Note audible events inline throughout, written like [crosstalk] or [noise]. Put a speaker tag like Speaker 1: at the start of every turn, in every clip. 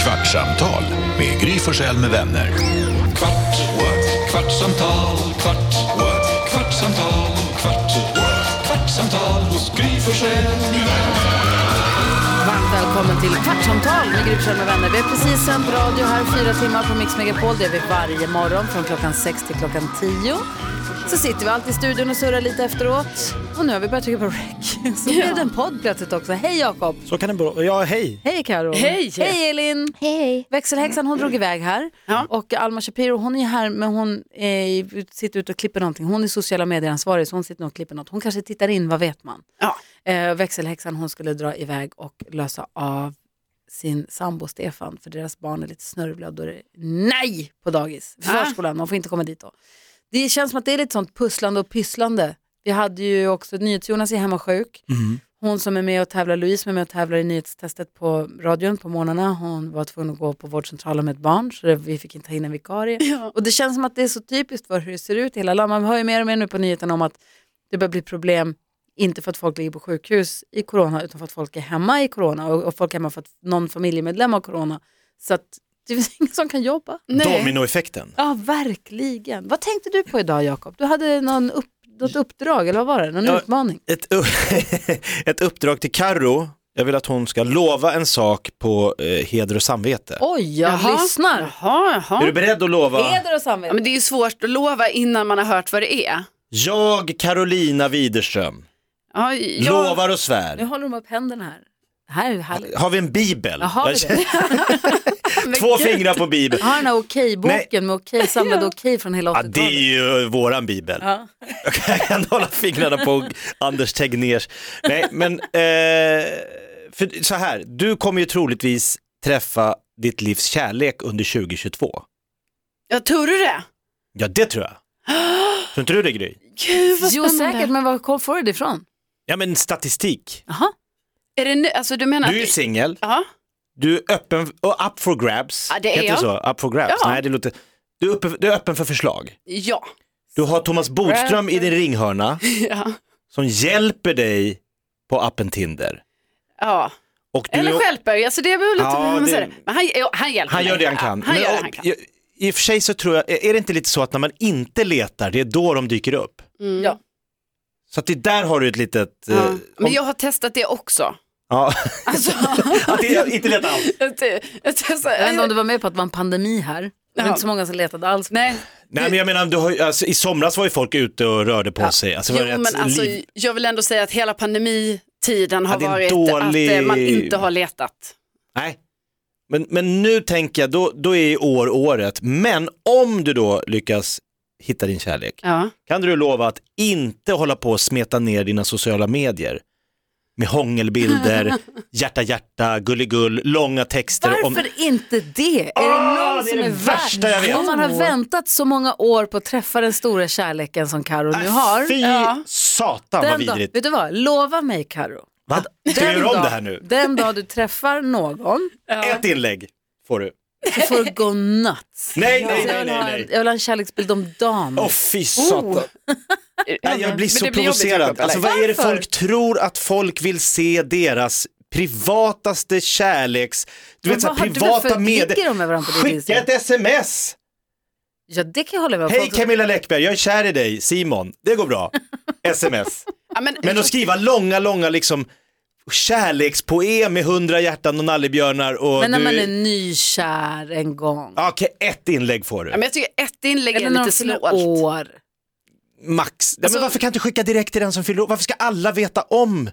Speaker 1: Kvartsamtal med Gry Forssell med vänner. Kvart, what? kvartsamtal, kvart, what? kvartsamtal, kvart, what? kvartsamtal hos Gry Forssell med vänner.
Speaker 2: Varmt välkommen till Kvartsamtal med Gry Forssell med vänner. Vi har precis sänt radio här fyra timmar på Mix Megapol. Det är vi varje morgon från klockan sex till klockan tio. Så sitter vi alltid i studion och surrar lite efteråt. Och nu har vi börjat trycka på rec. [laughs] Så blev det en podd plötsligt också. Hej Jakob!
Speaker 3: Så kan det bero. Ja, hej.
Speaker 2: Hej Karo.
Speaker 4: Hej.
Speaker 2: Hej Elin!
Speaker 5: Hej, hej.
Speaker 2: Växelhäxan hon drog iväg här och Alma Shapiro hon är här men hon eh, sitter ute och klipper någonting. Hon är sociala medieransvarig så hon sitter nog och klipper något. Hon kanske tittar in, vad vet man?
Speaker 4: Ja.
Speaker 2: Eh, växelhäxan hon skulle dra iväg och lösa av sin sambo Stefan för deras barn är lite snörvliga och då är det nej på dagis, för
Speaker 4: Ah.
Speaker 2: förskolan, man får inte komma dit då. Det känns som att det är lite sånt pusslande och pysslande. Vi hade ju också NyhetsJonas är hemma sjuk. Hon som är med och tävlar, Louise som är med och tävlar i nyhetstestet på radion på morgnarna, hon var tvungen att gå på vårdcentralen med ett barn så det, vi fick inte ta in en vikarie. Och det känns som att det är så typiskt för hur det ser ut i hela landet. Man hör ju mer och mer nu på nyheterna om att det börjar bli problem, inte för att folk ligger på sjukhus i corona utan för att folk är hemma i corona och, och folk är hemma för att någon familjemedlem har corona. Så att det finns [laughs] ingen som kan jobba.
Speaker 3: Dominoeffekten.
Speaker 2: Ja, verkligen. Vad tänkte du på idag Jakob? Du hade någon upp, något uppdrag, eller vad var det? Någon
Speaker 3: Ja.
Speaker 2: utmaning?
Speaker 3: Ett, u- [laughs] ett uppdrag till Karo. Jag vill att hon ska lova en sak på eh, heder och samvete.
Speaker 2: Oj, jag lyssnar.
Speaker 4: Jaha,
Speaker 3: Är du
Speaker 4: jaha.
Speaker 3: beredd att lova?
Speaker 2: Heder och
Speaker 4: Ja,
Speaker 2: samvete.
Speaker 4: men det är ju svårt att lova innan man har hört vad det är.
Speaker 3: Jag, Carolina Widerström,
Speaker 4: Ja, jag...
Speaker 3: lovar och
Speaker 2: Nu
Speaker 3: svär.
Speaker 2: håller de upp händerna här. Det här är härligt.
Speaker 3: Har vi en bibel?
Speaker 2: Jaha,
Speaker 3: Jag-
Speaker 2: det är det.
Speaker 3: Två fingrar på bibeln.
Speaker 2: [laughs] Jag har den här okej-boken med okej, samlade okej från hela
Speaker 3: [laughs] Ja, det är
Speaker 2: 80-talet.
Speaker 3: ju våran bibel.
Speaker 2: Ja.
Speaker 3: [laughs] Jag kan hålla fingrarna på Anders Tegnérs. Nej, men eh, för så här, du kommer ju troligtvis träffa ditt livs kärlek under 2022.
Speaker 4: Ja, tror du det?
Speaker 3: Ja, det tror jag. Tror inte du det Gry?
Speaker 4: Gud, vad
Speaker 2: Jo,
Speaker 4: spännande.
Speaker 2: säkert, men var kom- får du det ifrån?
Speaker 3: Ja, men statistik.
Speaker 2: Jaha.
Speaker 4: Är det nu? Alltså, du menar...
Speaker 3: Du är ju singel,
Speaker 4: Ja.
Speaker 3: du är öppen och up for grabs.
Speaker 4: Ja, det är
Speaker 3: Heter
Speaker 4: jag.
Speaker 3: så? Up for grabs?
Speaker 4: Ja.
Speaker 3: Nej, det låter... Du är, öppen, du är öppen för förslag.
Speaker 4: Ja.
Speaker 3: Du har Thomas Bodström i din ringhörna
Speaker 4: [laughs] ja.
Speaker 3: som hjälper dig på appen Tinder.
Speaker 4: ja.
Speaker 3: Och du
Speaker 4: Eller
Speaker 3: är-
Speaker 4: stjälper. Alltså, det är väl lite...
Speaker 3: Ja,
Speaker 4: hur man
Speaker 3: det-
Speaker 4: säger det... Men han, jo, han hjälper
Speaker 3: Han
Speaker 4: mig.
Speaker 3: gör det han
Speaker 4: Ja,
Speaker 3: kan.
Speaker 4: Han
Speaker 3: Men,
Speaker 4: gör det
Speaker 3: och-
Speaker 4: han kan.
Speaker 3: jag- I och för sig så tror jag, är det inte lite så att när man inte letar, det är då de dyker upp?
Speaker 4: Mm.
Speaker 2: Ja.
Speaker 3: Så att det där har du ett litet... eh,
Speaker 4: Ja. Men
Speaker 3: om-
Speaker 4: jag har testat det också.
Speaker 3: ja. [laughs]
Speaker 4: Alltså,
Speaker 3: att det, jag inte letar alls.
Speaker 4: [laughs] jag te- jag testar...
Speaker 2: Jag vet inte om du var med på att det var en pandemi här. Det var
Speaker 4: Ja.
Speaker 2: inte så många som letade alls.
Speaker 4: Nej,
Speaker 3: Nej men jag menar, du har, ju- alltså, i somras var ju folk ute och rörde på sig. Alltså, det
Speaker 4: jo,
Speaker 3: var rätt
Speaker 4: men alltså,
Speaker 3: liv.
Speaker 4: jag vill ändå säga att hela pandemitiden har
Speaker 3: Ja, det är en
Speaker 4: varit
Speaker 3: dålig-
Speaker 4: att eh, man inte har letat.
Speaker 3: Nej. Men, men nu tänker jag, då, då är i år året. Men om du då lyckas hitta din kärlek,
Speaker 4: Ja.
Speaker 3: kan du lova att inte hålla på och smeta ner dina sociala medier?
Speaker 2: [laughs]
Speaker 3: Med hångelbilder, hjärta hjärta, gulligull, långa texter. om-
Speaker 2: Varför inte det? Är det
Speaker 3: Ah,
Speaker 2: någon
Speaker 3: det är
Speaker 2: som
Speaker 3: det
Speaker 2: är
Speaker 3: värsta jag
Speaker 2: värd?
Speaker 3: vet.
Speaker 2: Om man har väntat så många år på att träffa den stora kärleken som Karo nu har.
Speaker 3: Äh, Fy
Speaker 4: Ja.
Speaker 3: satan vad
Speaker 2: Den dag,
Speaker 3: vidrigt.
Speaker 2: vet du vad, lova mig Karo.
Speaker 3: Va? Ska vi
Speaker 2: Den
Speaker 3: göra om
Speaker 2: dag-
Speaker 3: det här nu?
Speaker 2: Den dag du träffar någon
Speaker 3: Ett inlägg får du.
Speaker 2: så får du gå nuts.
Speaker 3: Nej, nej,
Speaker 2: Alltså, jag,
Speaker 3: nej,
Speaker 2: vill
Speaker 3: nej.
Speaker 2: ha en,
Speaker 3: nej.
Speaker 2: jag vill ha en kärleksbild om dagen.
Speaker 3: Åh fy satan. Nej, jag blir
Speaker 4: Eh, Men
Speaker 3: så
Speaker 4: det blir jobbigt,
Speaker 3: provocerad.
Speaker 4: Jakob,
Speaker 3: Alltså,
Speaker 4: eller?
Speaker 3: vad är det
Speaker 2: Varför?
Speaker 3: folk tror att folk vill se deras privataste kärleks... Du
Speaker 2: Men
Speaker 3: vet så här,
Speaker 2: vad har du
Speaker 3: privata
Speaker 2: för- ligger
Speaker 3: medier.
Speaker 2: de med varandra på det
Speaker 3: Skicka
Speaker 2: viset?
Speaker 3: ett sms!
Speaker 2: Ja, det kan jag hålla med om.
Speaker 3: Hej
Speaker 2: Folk-
Speaker 3: Camilla Läckberg, jag är kär i dig, Simon. Det
Speaker 2: [laughs]
Speaker 3: går bra. Sms.
Speaker 4: Ja, men,
Speaker 3: Men att skriva långa, långa liksom kärlekspoem med hundra hjärtan och nallebjörnar och
Speaker 2: Men när
Speaker 3: du...
Speaker 2: man är nykär en gång.
Speaker 3: Ja, Okej, ett inlägg får du.
Speaker 4: ja, men jag tycker ett inlägg
Speaker 2: Eller
Speaker 4: är
Speaker 2: när de
Speaker 4: lite
Speaker 2: fyller
Speaker 4: snålt.
Speaker 2: år.
Speaker 3: Max. Ja,
Speaker 4: Alltså-
Speaker 3: men varför kan du inte skicka direkt till den som fyller år? Varför ska alla veta om?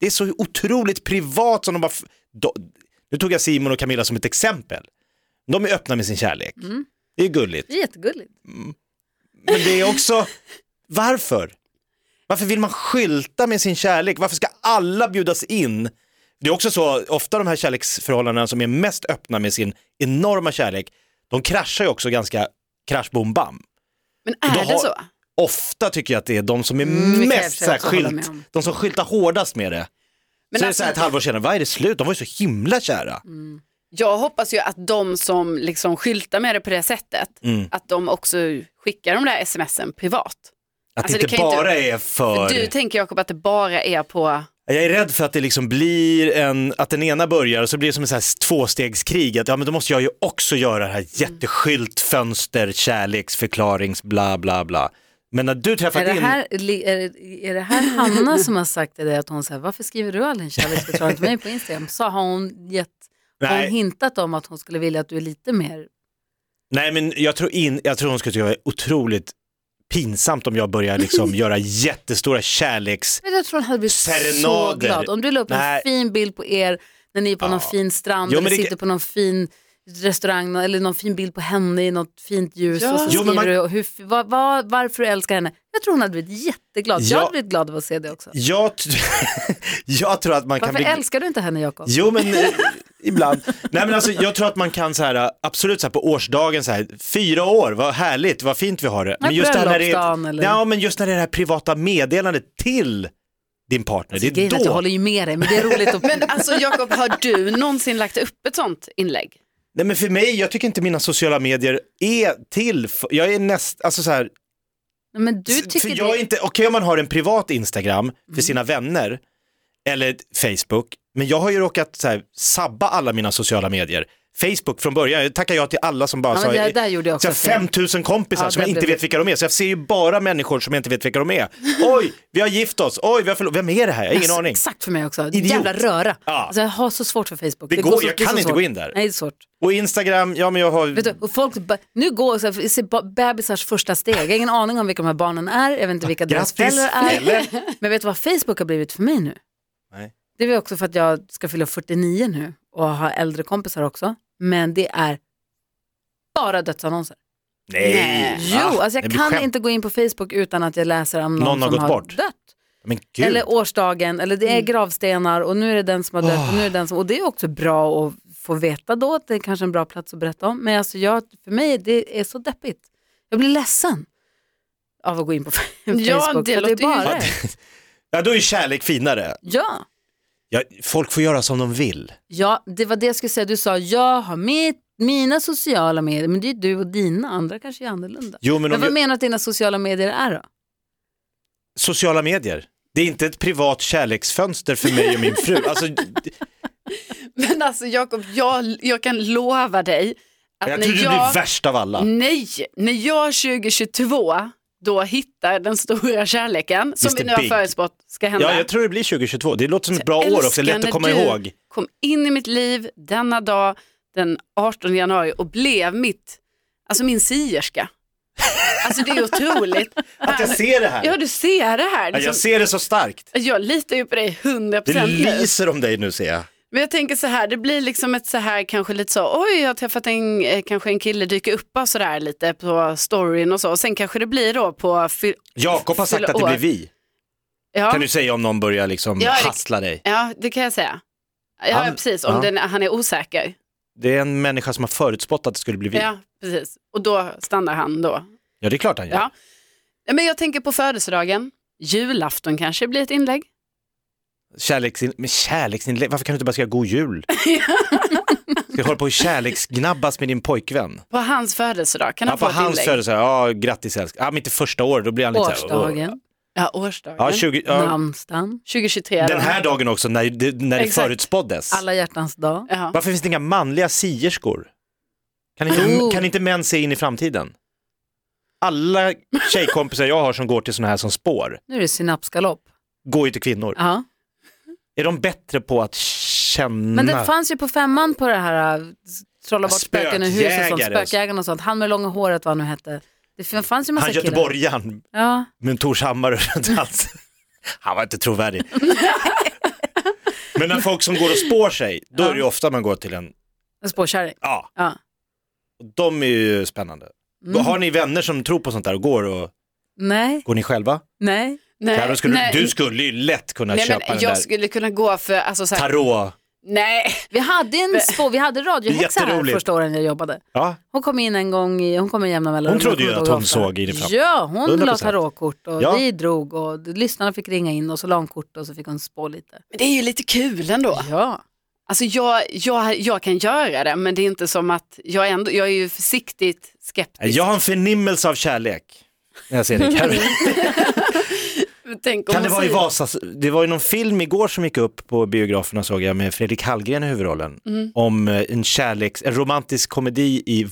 Speaker 3: Det är så otroligt privat som de bara... f- Do... Nu tog jag Simon och Camilla som ett exempel. De är öppna med sin kärlek. Det är gulligt.
Speaker 2: Det är jättegulligt.
Speaker 3: Men det är också... Varför? Varför vill man skylta med sin kärlek? Varför ska alla bjudas in? Det är också så, ofta de här kärleksförhållandena som är mest öppna med sin enorma kärlek, de kraschar ju också ganska krasch bom bam.
Speaker 4: Men
Speaker 3: Då
Speaker 4: är
Speaker 3: har-
Speaker 4: det så?
Speaker 3: ofta tycker jag att det är de som är
Speaker 2: Mm, det kan jag i och
Speaker 3: mest
Speaker 2: för sig
Speaker 3: så här,
Speaker 2: också hålla
Speaker 3: skylt,
Speaker 2: med om.
Speaker 3: de som skyltar hårdast med det. så
Speaker 4: Men
Speaker 3: är det
Speaker 4: alltså-
Speaker 3: så här ett halvår senare, vad är det slut? De var ju så himla kära.
Speaker 2: Mm.
Speaker 4: Jag hoppas ju att de som liksom skyltar med det på det sättet,
Speaker 3: Mm.
Speaker 4: att de också skickar de där smsen privat.
Speaker 3: Att
Speaker 4: Alltså,
Speaker 3: det
Speaker 4: det
Speaker 3: inte
Speaker 4: kan ju inte-
Speaker 3: bara är för...
Speaker 4: Du tänker Jakob att det bara är på
Speaker 3: Jag är rädd för att det liksom blir en, att den ena börjar och så blir det som ett så här tvåstegskrig. Att, ja, men då måste jag ju också göra det här
Speaker 2: Mm.
Speaker 3: jätteskylt, fönster, kärleksförklarings, bla bla bla. Men när du träffar
Speaker 2: Är det,
Speaker 3: din...
Speaker 2: här, li- är, det- är det här Hanna som har sagt till dig att hon säger varför skriver du aldrig en kärleksförklaring till mig på Instagram? Så har hon, gett, har
Speaker 3: Nej.
Speaker 2: hon hintat om att hon skulle vilja att du är lite mer...
Speaker 3: Nej men jag tror, in, jag tror hon skulle tycka det var otroligt pinsamt om jag
Speaker 2: [laughs]
Speaker 3: börjar liksom göra jättestora kärleks...
Speaker 2: Men Jag tror hon hade blivit så
Speaker 3: Serenader.
Speaker 2: glad. Om du la upp
Speaker 3: Nej.
Speaker 2: en fin bild på er när ni är på någon fin strand
Speaker 3: Jo, men
Speaker 2: eller
Speaker 3: det-
Speaker 2: sitter på någon fin restaurang eller någon fin bild på henne i något fint ljus
Speaker 4: Ja.
Speaker 2: och så
Speaker 3: Jo,
Speaker 2: skriver
Speaker 3: men man-
Speaker 2: du och hur, vad, vad, varför du älskar henne. Jag tror hon hade blivit jätteglad.
Speaker 3: Ja.
Speaker 2: Jag hade blivit glad av att se det också.
Speaker 3: Jag, t- [laughs] jag tror att man
Speaker 2: Varför
Speaker 3: kan bli...
Speaker 2: älskar du inte henne Jakob?
Speaker 3: Jo men eh, ibland. Nej men alltså jag tror att man kan så här, eh, absolut så här på årsdagen så här, fyra år, vad härligt, vad fint vi har det.
Speaker 2: Nej,
Speaker 3: just det här när det
Speaker 2: bröllopsdagen
Speaker 3: är,
Speaker 2: eller-
Speaker 3: ja, men just när det är det här privata meddelandet till din partner, det är
Speaker 2: Alltså, Grejen är att jag
Speaker 3: då.
Speaker 2: håller ju med dig men det är roligt att
Speaker 4: Men alltså Jakob, har du någonsin lagt upp ett sånt inlägg?
Speaker 3: Nej men för mig, jag tycker inte mina sociala medier är till, f- jag är näst, alltså så här,
Speaker 2: Nej, Men du
Speaker 3: S-
Speaker 2: tycker
Speaker 3: för jag
Speaker 2: det...
Speaker 3: är
Speaker 2: Mm.
Speaker 3: inte, okej om man har en privat Instagram för sina vänner eller ett Facebook, men jag har ju råkat så här, sabba alla mina sociala medier. Facebook från början, jag tackar jag till alla som bara
Speaker 2: Ja,
Speaker 3: sa,
Speaker 2: men det där gjorde jag
Speaker 3: så
Speaker 2: också.
Speaker 3: här, 5000 kompisar
Speaker 2: Ja,
Speaker 3: som jag
Speaker 2: det
Speaker 3: inte
Speaker 2: blev-
Speaker 3: vet vilka de är, så jag ser ju bara människor som jag inte vet vilka
Speaker 2: [laughs]
Speaker 3: de är. Oj, vi har gift oss, oj, vi har förlovat, vem är det här? Jag har ingen
Speaker 2: Alltså,
Speaker 3: aning.
Speaker 2: Exakt för mig också.
Speaker 3: Idiot.
Speaker 2: Jävla röra.
Speaker 3: Ja.
Speaker 2: Alltså, jag har så svårt för Facebook.
Speaker 3: Det går-
Speaker 2: så,
Speaker 3: jag
Speaker 2: är
Speaker 3: kan
Speaker 2: så
Speaker 3: inte
Speaker 2: svårt.
Speaker 3: gå in där.
Speaker 2: Nej, det är svårt.
Speaker 3: Och Instagram, ja men jag har...
Speaker 2: Vet du, och folk ba- nu går så här, ser ba- bebisars första steg. Jag har ingen aning om vilka de här barnen är. Jag vet inte vilka deras
Speaker 3: Grattis,
Speaker 2: föräldrar är. [laughs] Men vet du vad Facebook har blivit för mig nu?
Speaker 3: Nej.
Speaker 2: Det är väl också för att jag ska fylla 49 nu och ha äldre kompisar också. Men det är bara dödsannonser.
Speaker 3: Nej!
Speaker 2: Jo,
Speaker 3: Ah,
Speaker 2: alltså
Speaker 3: det
Speaker 2: jag
Speaker 3: blir
Speaker 2: kan
Speaker 3: skämt.
Speaker 2: inte gå in på Facebook utan att jag läser om någon,
Speaker 3: Någon har
Speaker 2: som har
Speaker 3: gått bort.
Speaker 2: dött.
Speaker 3: Men gud.
Speaker 2: Eller årsdagen, eller det är
Speaker 3: Mm.
Speaker 2: gravstenar och nu är det den som har dött och nu är det den som, och det är också bra att få veta då, att det är kanske en bra plats att berätta om. Men alltså jag, för mig det är så deppigt. Jag blir ledsen av att gå in på [laughs] Facebook. för
Speaker 4: det
Speaker 2: att
Speaker 4: låter
Speaker 2: är
Speaker 4: ju-
Speaker 2: bara,
Speaker 4: Ja,
Speaker 3: [laughs] Ja, då är ju kärlek finare.
Speaker 2: Ja.
Speaker 3: Ja, folk får göra som de vill.
Speaker 2: ja, det var det jag skulle säga, du sa jag har mitt, mina sociala medier, men det är ju du och dina, andra kanske är annorlunda.
Speaker 3: Jo,
Speaker 2: Men,
Speaker 3: men om
Speaker 2: vad
Speaker 3: jag...
Speaker 2: menar du att dina sociala medier är då?
Speaker 3: sociala medier. Det är inte ett privat kärleksfönster för mig och min
Speaker 4: [laughs]
Speaker 3: fru. Alltså,
Speaker 4: Men alltså Jakob, jag, jag kan lova dig att
Speaker 3: jag
Speaker 4: när
Speaker 3: tror du
Speaker 4: jag...
Speaker 3: blir värst av alla.
Speaker 4: Nej, när jag 2022 då hittar den stora kärleken som
Speaker 3: Mr.
Speaker 4: vi nu har
Speaker 3: Big.
Speaker 4: förutspått ska hända.
Speaker 3: Ja, jag tror det blir 2022. Det låter som ett bra år också,
Speaker 4: Älskar
Speaker 3: lätt att
Speaker 4: när
Speaker 3: komma
Speaker 4: du
Speaker 3: ihåg.
Speaker 4: kom in i mitt liv denna dag den 18 januari och blev mitt, alltså min sierska. Alltså
Speaker 3: [laughs]
Speaker 4: det är otroligt.
Speaker 3: Att jag ser det här.
Speaker 4: Ja, du ser det här.
Speaker 3: Ja,
Speaker 4: Liksom,
Speaker 3: jag ser det så starkt.
Speaker 4: jag litar ju på dig 100%
Speaker 3: Det
Speaker 4: nu.
Speaker 3: lyser om dig nu ser jag.
Speaker 4: Men jag tänker så här, det blir liksom ett så här kanske lite så, oj jag har träffat en, eh, kanske en kille dyker upp bara så där lite på storyn och så. Och sen kanske det blir då på, fy-
Speaker 3: Jakob har sagt
Speaker 4: Fylla
Speaker 3: att det blir
Speaker 4: år.
Speaker 3: vi.
Speaker 4: ja,
Speaker 3: Kan du säga om någon börjar liksom
Speaker 4: Ja, det-
Speaker 3: hassla dig?
Speaker 4: ja det kan jag säga. Ja,
Speaker 3: Han-
Speaker 4: ja, precis, om
Speaker 3: ja.
Speaker 4: Den, han är osäker.
Speaker 3: Det är en människa som har förutspått att det skulle bli vi. Ja,
Speaker 4: Ja, precis. Och då stannar han då.
Speaker 3: det är klart han gör.
Speaker 4: Ja. Ja, Men jag tänker på födelsedagen, julafton kanske blir ett inlägg.
Speaker 3: Kärleksin... Men kärleksinlägg, varför kan du inte bara säga god
Speaker 4: [laughs]
Speaker 3: jul? Ska jag hålla på och kärleksgnabbas med din pojkvän?
Speaker 4: På hans födelsedag kan
Speaker 3: Ja,
Speaker 4: han
Speaker 3: på
Speaker 4: få ett
Speaker 3: hans
Speaker 4: inlägg.
Speaker 3: födelsedag, ja grattis älskling. Ja, men inte första året, då blir han lite så här, "Åh."
Speaker 2: Årsdagen,
Speaker 4: Ja, årsdagen.
Speaker 3: Ja, 20, ja.
Speaker 2: namnsdagen,
Speaker 4: 2023.
Speaker 3: Den här dagen också när det, när det
Speaker 4: Exakt.
Speaker 3: förutspåddes.
Speaker 2: alla hjärtans dag.
Speaker 4: Ja.
Speaker 3: Varför finns det inga manliga sierskor? Kan inte,
Speaker 2: Oh.
Speaker 3: kan inte män se in i framtiden? Alla tjejkompisar jag har som går till sådana här som spår
Speaker 2: Nu är det synapsgalopp.
Speaker 3: går ju till kvinnor.
Speaker 2: Ja.
Speaker 3: Är de bättre på att känna?
Speaker 2: Men det fanns ju på femman på det här äh, trolla bort spöken i huset och sånt,
Speaker 3: Mm. Spökjägare.
Speaker 2: spökjägaren och sånt. Han med långa håret vad han nu hette. Det fin- fanns ju massa
Speaker 3: Han
Speaker 2: killar.
Speaker 3: göteborgaren
Speaker 2: Ja.
Speaker 3: med en torshammare runt halsen. Han var
Speaker 2: [laughs]
Speaker 3: inte trovärdig. Men när folk som går och spår sig, då är det ju ofta man går till en,
Speaker 2: En spårkärring.
Speaker 3: ja,
Speaker 2: Ja.
Speaker 3: de är ju spännande.
Speaker 2: Mm.
Speaker 3: Har ni vänner som tror på sånt där och går och
Speaker 2: Nej,
Speaker 3: går ni själva?
Speaker 2: nej.
Speaker 4: Nej,
Speaker 3: Karo, skulle,
Speaker 4: Eh, nej,
Speaker 3: du skulle ju lätt kunna
Speaker 4: nej,
Speaker 3: köpa
Speaker 4: men
Speaker 3: den där
Speaker 4: jag skulle kunna gå för, alltså så här,
Speaker 3: tarot.
Speaker 4: nej.
Speaker 2: Vi hade en spå, vi hade radiohäxa här
Speaker 3: Jätteroligt.
Speaker 2: första åren jag jobbade.
Speaker 3: Ja.
Speaker 2: Hon kom in en gång, i, hon kom med jämna mellanrum.
Speaker 3: Hon trodde
Speaker 2: Jag kommer
Speaker 3: ju
Speaker 2: inte
Speaker 3: att
Speaker 2: ihåg
Speaker 3: hon
Speaker 2: ofta.
Speaker 3: såg in i framtiden.
Speaker 2: Ja, hon
Speaker 3: 100%.
Speaker 2: la tarotkort och
Speaker 3: Ja.
Speaker 2: vi drog och lyssnarna fick ringa in och så la hon kort och så fick hon spå lite.
Speaker 4: Men det är ju lite kul ändå.
Speaker 2: Ja.
Speaker 4: Alltså jag, jag, jag kan göra det, men det är inte som att, jag är, ändå, jag är ju försiktigt skeptisk. [laughs]
Speaker 3: Jag har en förnimmelse av kärlek. När jag ser dig Karo.
Speaker 4: Tänk om
Speaker 3: Kan det
Speaker 4: hon
Speaker 3: vara i
Speaker 4: säger-
Speaker 3: Vasas, det var ju någon film igår som gick upp på biograferna såg jag med Fredrik Hallgren i huvudrollen.
Speaker 4: Mm.
Speaker 3: Om eh, en kärleks, en romantisk komedi i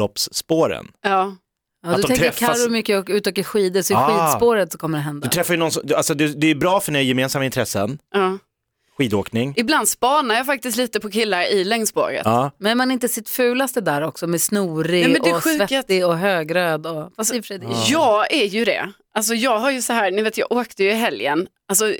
Speaker 3: Vasaloppsspåren.
Speaker 4: Ja.
Speaker 2: Ja,
Speaker 3: Att
Speaker 2: du
Speaker 3: de
Speaker 2: tänker
Speaker 3: träffas-
Speaker 2: Karo mycket och ut och åker skidor, så i
Speaker 3: Ah.
Speaker 2: skidspåret så kommer det hända.
Speaker 3: Du träffar ju någon som, alltså det, det är bra för ni har gemensamma intressen,
Speaker 4: ja.
Speaker 3: skidåkning.
Speaker 4: Ibland spanar jag faktiskt lite på killar i längdspåret.
Speaker 3: Ja.
Speaker 2: Men man är inte sitt fulaste där också med snorig
Speaker 4: Nej, men det
Speaker 2: och
Speaker 4: sjuka är att- Alltså,
Speaker 2: svettig och högröd. Och... Fast i och för sig, det är ju-
Speaker 4: Jag är ju det. Alltså jag har ju så här, ni vet jag åkte ju i helgen. Alltså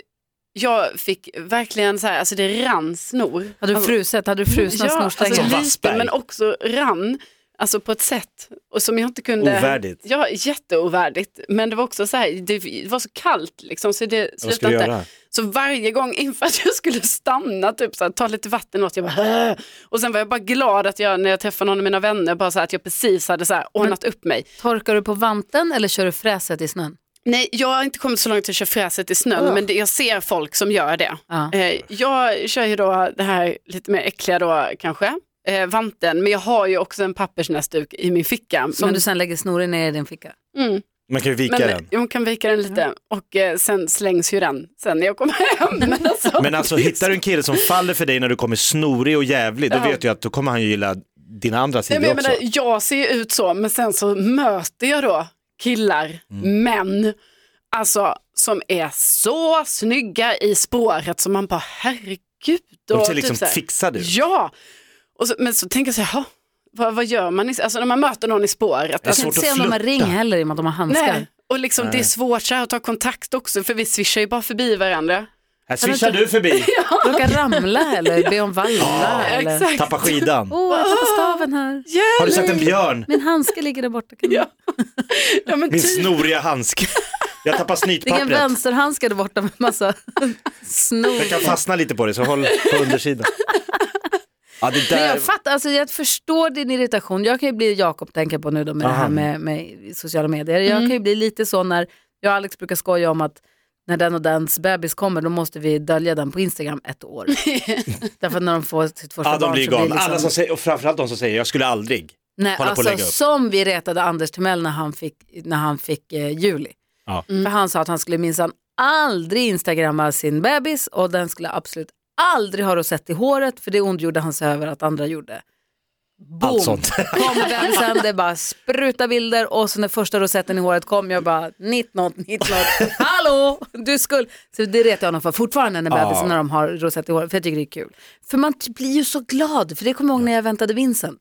Speaker 4: jag fick verkligen så här, alltså det rann snor.
Speaker 2: Hade du
Speaker 4: alltså,
Speaker 2: fruset? Hade du frusna snorsträngar?
Speaker 4: alltså
Speaker 3: Som
Speaker 4: lite
Speaker 3: Wassberg.
Speaker 4: men också rann. Alltså på ett sätt och som jag inte kunde.
Speaker 3: Ovärdigt.
Speaker 4: Ja, jätteovärdigt. Men det var också så här, det var så kallt liksom så det
Speaker 3: Vad ska du
Speaker 4: slutade inte.
Speaker 3: göra?
Speaker 4: Så varje gång inför att jag skulle stanna, typ så här, ta lite vatten åt, jag bara "Åh!" Och sen var jag bara glad att jag, när jag träffade någon av mina vänner, bara så här, att jag precis hade så här, ordnat upp mig.
Speaker 2: Torkar du på vanten eller kör du fräset i snön?
Speaker 4: Nej, jag har inte kommit så långt att jag kör fräset i snön,
Speaker 2: Ugh.
Speaker 4: men det, jag ser folk som gör det.
Speaker 2: Ja.
Speaker 4: Eh, jag kör ju då det här lite mer äckliga då kanske, eh, vanten, men jag har ju också en pappersnäsduk i min ficka.
Speaker 2: Som
Speaker 4: men,
Speaker 2: du sen lägger snorig ner i din ficka.
Speaker 4: mm,
Speaker 3: Man kan ju vika
Speaker 4: men,
Speaker 3: den.
Speaker 4: Jag kan vika den lite och eh, sen slängs ju den sen när jag kommer hem. [laughs] Men alltså,
Speaker 3: Men alltså hittar du en kille som faller för dig när du kommer snorig och jävlig, då
Speaker 4: Ja.
Speaker 3: vet du att då kommer han ju gilla dina andra
Speaker 4: Nej,
Speaker 3: sidor
Speaker 4: men jag,
Speaker 3: också.
Speaker 4: menar, jag ser ju ut så, men sen så möter jag då killar, män, alltså som är så snygga i spåret som man bara herregud.
Speaker 3: De
Speaker 4: och typ
Speaker 3: ser liksom
Speaker 4: så här-
Speaker 3: fixade ut.
Speaker 4: Ja, och så, men så tänker jag så här, "Jaha, vad, vad gör man? I, alltså när man möter någon i spåret. alltså,
Speaker 2: Jag
Speaker 3: Det är
Speaker 2: kan
Speaker 3: svårt
Speaker 2: inte
Speaker 3: att
Speaker 2: se om de har
Speaker 3: flirta.
Speaker 2: ring heller i och med att de har handskar.
Speaker 4: nej. Och liksom det är svårt så här att ta kontakt också, för vi swishar ju bara förbi varandå.
Speaker 3: Här swishar du
Speaker 2: [laughs]
Speaker 3: förbi,
Speaker 2: Råkar ramla eller be om
Speaker 3: [laughs]
Speaker 2: valla. eller...
Speaker 4: Exakt.
Speaker 3: tappar skidan.
Speaker 2: Åh, jag tappade staven här.
Speaker 4: Yeah.
Speaker 3: Har du sett en björn?
Speaker 2: Min handske ligger där borta. Kan du-
Speaker 4: Ja. Ja, men
Speaker 3: Min
Speaker 4: typ.
Speaker 3: snoriga handske. Jag tappar
Speaker 2: Ligger en
Speaker 3: snytpappret.
Speaker 2: vänsterhandske där borta med
Speaker 4: [laughs]
Speaker 2: massa snor.
Speaker 3: Jag kan fastna lite på det så håll
Speaker 2: [laughs]
Speaker 3: på undersidan. Ja, det
Speaker 2: Men
Speaker 3: där...
Speaker 2: jag fattar, alltså jag förstår din irritation. Jag kan ju bli, Jakob tänker på nu då med det här
Speaker 3: Aha.
Speaker 2: med, med sociala medier. Jag kan ju bli lite så när jag och Alex brukar skoja om att när den och dens bebis kommer då måste vi dölja den på Instagram ett år. Därför att när de får sitt första
Speaker 3: Ja, de
Speaker 2: barn
Speaker 3: blir
Speaker 2: så blir det
Speaker 3: galna.
Speaker 2: liksom...
Speaker 3: Alla som säger, och framförallt de som säger jag skulle aldrig.
Speaker 2: Nej,
Speaker 3: hålla på och
Speaker 2: alltså
Speaker 3: lägga upp.
Speaker 2: som vi retade Anders Timell när han fick, när han fick eh, Juli.
Speaker 3: Ja.
Speaker 2: För han sa att han skulle minsann aldrig instagramma sin bebis och den skulle absolut aldrig ha rosett i håret för det ondgjorde han sig över att andra gjorde. Boom!
Speaker 3: Allt sånt.
Speaker 2: Kom bebisen, det bara spruta bilder och så när första rosetten i håret kom jag bara nitt något, nitt något. Hallå! Du skulle... Så det retar jag honom för fortfarande när bebisen när de har rosett i håret för jag tycker det är kul. För man t- blir ju så glad, för det kommer jag ihåg när jag väntade Vincent.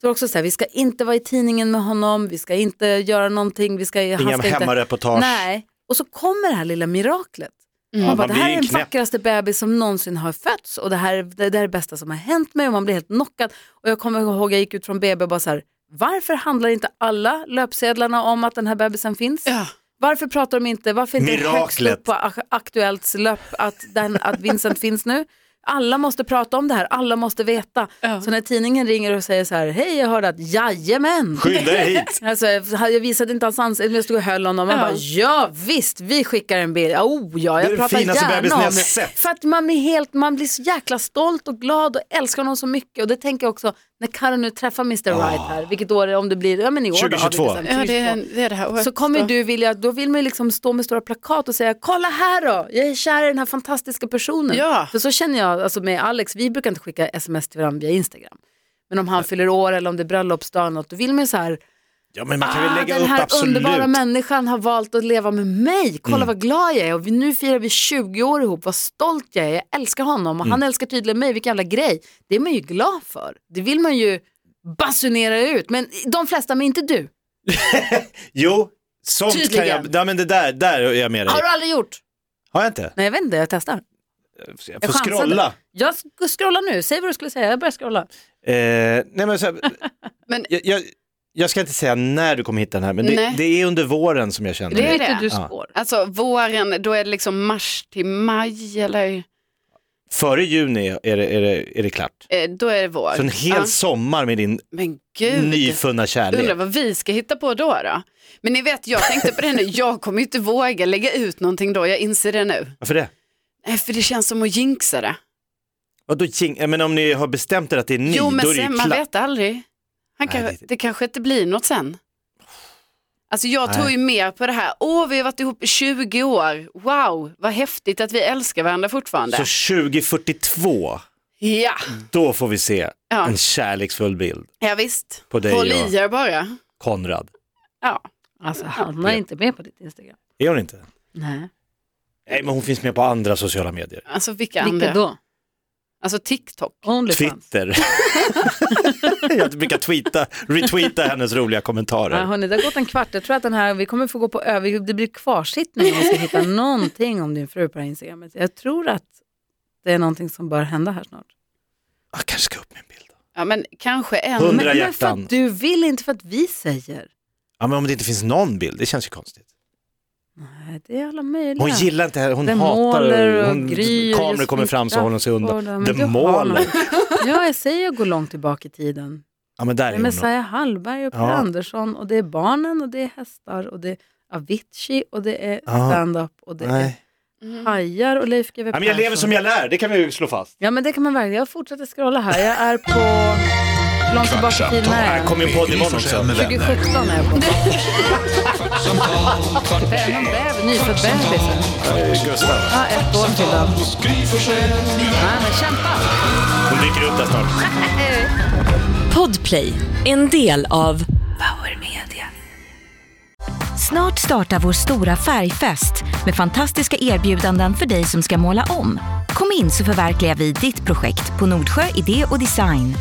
Speaker 2: Det var också så här, vi ska inte vara i tidningen med honom, vi ska inte göra någonting, vi ska...
Speaker 3: Inga hemmareportage.
Speaker 2: Nej, och så kommer det här lilla miraklet. Man
Speaker 3: Ja,
Speaker 2: Mm, bara,
Speaker 3: man
Speaker 2: det
Speaker 3: blir
Speaker 2: här är den
Speaker 3: knäpp.
Speaker 2: vackraste bebis som någonsin har fötts och det här, det, det här är det bästa som har hänt mig och man blir helt knockad. Och jag kommer ihåg, jag gick ut från BB och bara så här, varför handlar inte alla löpsedlarna om att den här bebisen finns?
Speaker 4: Ja.
Speaker 2: Varför pratar de inte, varför inte högst
Speaker 3: Miraklet.
Speaker 2: upp på Ak- Aktuellts löp att, den, att Vincent finns nu? Alla måste prata om det här, alla måste veta.
Speaker 4: Ja.
Speaker 2: Så när tidningen ringer och säger så här, hej jag hörde att, jajamän! [laughs]
Speaker 3: Skynda dig hit.
Speaker 2: Alltså, jag visade inte hans ansikte, men jag stod och höll honom. Man
Speaker 4: Ja.
Speaker 2: bara, ja visst, vi skickar en bild. Oh, ja,
Speaker 3: är
Speaker 2: jag
Speaker 3: den
Speaker 2: pratar
Speaker 3: finaste
Speaker 2: gärna
Speaker 3: bebisen
Speaker 2: om
Speaker 3: jag
Speaker 2: det.
Speaker 3: sett.
Speaker 2: För att man, är helt, man blir så jäkla stolt och glad och älskar honom så mycket. Och det tänker jag också, när Karin nu träffar Mr.
Speaker 3: Ah.
Speaker 2: Right här, vilket år är det, om det blir, ja men i år Då,
Speaker 3: 2022.
Speaker 2: har vi
Speaker 4: Ja,
Speaker 2: bestämt,
Speaker 4: det, är, det är det här året.
Speaker 2: så kommer
Speaker 4: då.
Speaker 2: du vilja, då vill man ju liksom stå med stora plakat och säga, kolla här då, jag är kär i den här fantastiska personen.
Speaker 4: Ja.
Speaker 2: För så känner jag, alltså med Alex, vi brukar inte skicka sms till varandra via Instagram. Men om han fyller år eller om det är bröllopsdag eller något, då vill man ju så här,
Speaker 3: Ja, men man kan
Speaker 2: Ah,
Speaker 3: väl lägga
Speaker 2: den här
Speaker 3: upp absolut. Mm.
Speaker 2: underbara människan har valt att leva med mig. Kolla vad glad jag är och vi, nu firar vi 20 år ihop. Vad stolt jag är. Jag älskar honom och han
Speaker 3: Mm.
Speaker 2: älskar tydligen mig. Vilken jävla grej. Det är man ju glad för. Det vill man ju basunera ut. Men de flesta, men inte du.
Speaker 3: Jo, sånt
Speaker 2: Tydligen.
Speaker 3: kan jag... Ja, men det där, där är jag med dig.
Speaker 2: Har du aldrig gjort?
Speaker 3: Har jag inte?
Speaker 2: Nej, jag vet inte. Jag testar.
Speaker 3: Jag
Speaker 2: Jag
Speaker 3: får
Speaker 2: chansade.
Speaker 3: scrolla.
Speaker 2: Jag sk- scrollar nu. Säg vad du skulle säga. Jag börjar scrolla.
Speaker 3: Eh, nej, men så här,
Speaker 4: [laughs] Men-
Speaker 3: jag, jag, jag ska inte säga när du kommer hitta den här, men det,
Speaker 4: Nej.
Speaker 3: det är under våren som jag känner.
Speaker 4: Det är
Speaker 2: Byter
Speaker 4: det.
Speaker 2: Du
Speaker 3: Ja.
Speaker 2: spår.
Speaker 4: Alltså våren, då är det liksom mars till maj eller
Speaker 3: Före juni är det, är det, är det klart.
Speaker 4: eh, då är det vår.
Speaker 3: Så en hel
Speaker 4: Ja.
Speaker 3: sommar med din
Speaker 4: Men gud.
Speaker 3: nyfunna
Speaker 4: Undrar
Speaker 3: kärlek.
Speaker 4: vad vi ska hitta på då då? Men ni vet, jag tänkte på det nu, jag kommer ju inte våga lägga ut någonting då, jag inser det nu.
Speaker 3: Varför det?
Speaker 4: Nej, för det känns som att jinxa det.
Speaker 3: Vadå, jing- ja, men om ni har bestämt er att det är ni,
Speaker 4: jo, men
Speaker 3: då är det
Speaker 4: sen,
Speaker 3: ju
Speaker 4: man
Speaker 3: klart.
Speaker 4: vet aldrig. Han
Speaker 3: Nej,
Speaker 4: kanske,
Speaker 3: det-
Speaker 4: det... kanske inte blir något sen. Alltså jag tror ju mer på det här, åh vi har varit ihop i 20 år, wow vad häftigt att vi älskar varandra fortfarande.
Speaker 3: Så 2042,
Speaker 4: Ja,
Speaker 3: då får vi se
Speaker 4: Ja.
Speaker 3: en kärleksfull bild.
Speaker 4: ja visst.
Speaker 3: På dig,
Speaker 4: Håll
Speaker 3: ja.
Speaker 4: i er bara.
Speaker 3: Konrad.
Speaker 4: Ja.
Speaker 2: Alltså Hanna är inte med på ditt Instagram.
Speaker 3: Är hon inte?
Speaker 2: Nej.
Speaker 3: Nej, men hon finns med på andra sociala medier.
Speaker 4: Alltså vilka
Speaker 2: Vilka
Speaker 4: andra?
Speaker 2: då?
Speaker 4: Alltså TikTok.
Speaker 2: Onlyfans.
Speaker 3: Twitter. [laughs] jag brukar tweeta, retweeta hennes roliga
Speaker 2: Ja,
Speaker 3: kommentarer.
Speaker 2: hörni, det har gått en kvart. Jag tror att den här, vi kommer få gå på över, det blir kvarsittning om vi ska
Speaker 3: [laughs]
Speaker 2: hitta någonting om din fru på det här Instagramet. Jag tror att det är någonting som bör hända här snart.
Speaker 3: Jag kanske ska upp med en bild.
Speaker 4: Ja men kanske en.
Speaker 3: Hundra.
Speaker 4: Men,
Speaker 2: Men, men för
Speaker 3: hjärtan.
Speaker 2: att du vill, inte för att vi säger.
Speaker 3: Ja, men om det inte finns någon bild, det känns ju konstigt.
Speaker 2: Nej, det är alla möjliga.
Speaker 3: Hon gillar inte det här, hon
Speaker 2: Demoler
Speaker 3: hatar
Speaker 2: och
Speaker 3: hon,
Speaker 2: Gry och
Speaker 3: Kameror
Speaker 2: Josefin
Speaker 3: kommer fram så håller hon sig
Speaker 2: Crafoord, ja,
Speaker 3: undan.
Speaker 2: men du har
Speaker 3: Demoler.
Speaker 2: någon. Ja, jag säger att gå långt tillbaka i tiden.
Speaker 3: Ja, men där
Speaker 2: Det
Speaker 3: är
Speaker 2: är
Speaker 3: hon. nog.
Speaker 2: Messiah Hallberg och Per
Speaker 3: Ja.
Speaker 2: Andersson och det är barnen och det är hästar och det är Avicii och det är
Speaker 3: Ja.
Speaker 2: stand-up och det
Speaker 3: Nej.
Speaker 2: är hajar och Leif GW
Speaker 3: Ja, men jag lever som jag lär, det kan vi ju slå fast.
Speaker 2: Ja men det kan man verkligen. Jag fortsätter scrolla här. Jag är på... Långt tillbaka i tiden är
Speaker 3: Här
Speaker 2: jag.
Speaker 3: kom ju en podd imorgon också.
Speaker 1: Gryforsen med vänner.
Speaker 2: 2017 är jag på.
Speaker 1: Kvartsamtal, kvart,
Speaker 2: Femman bäver, nyfödd bebis.
Speaker 3: Eh, Gustav,
Speaker 2: Ja, ett år fyllde han.
Speaker 1: hos Gry Forssell med vänner.
Speaker 2: Nej men kämpa.
Speaker 3: hon dyker upp där snart.
Speaker 5: Podplay, en del av Power Media.
Speaker 6: Snart startar vår stora färgfest med fantastiska erbjudanden för dig som ska måla om. Kom in så förverkligar vi ditt projekt på Nordsjö Idé och Design.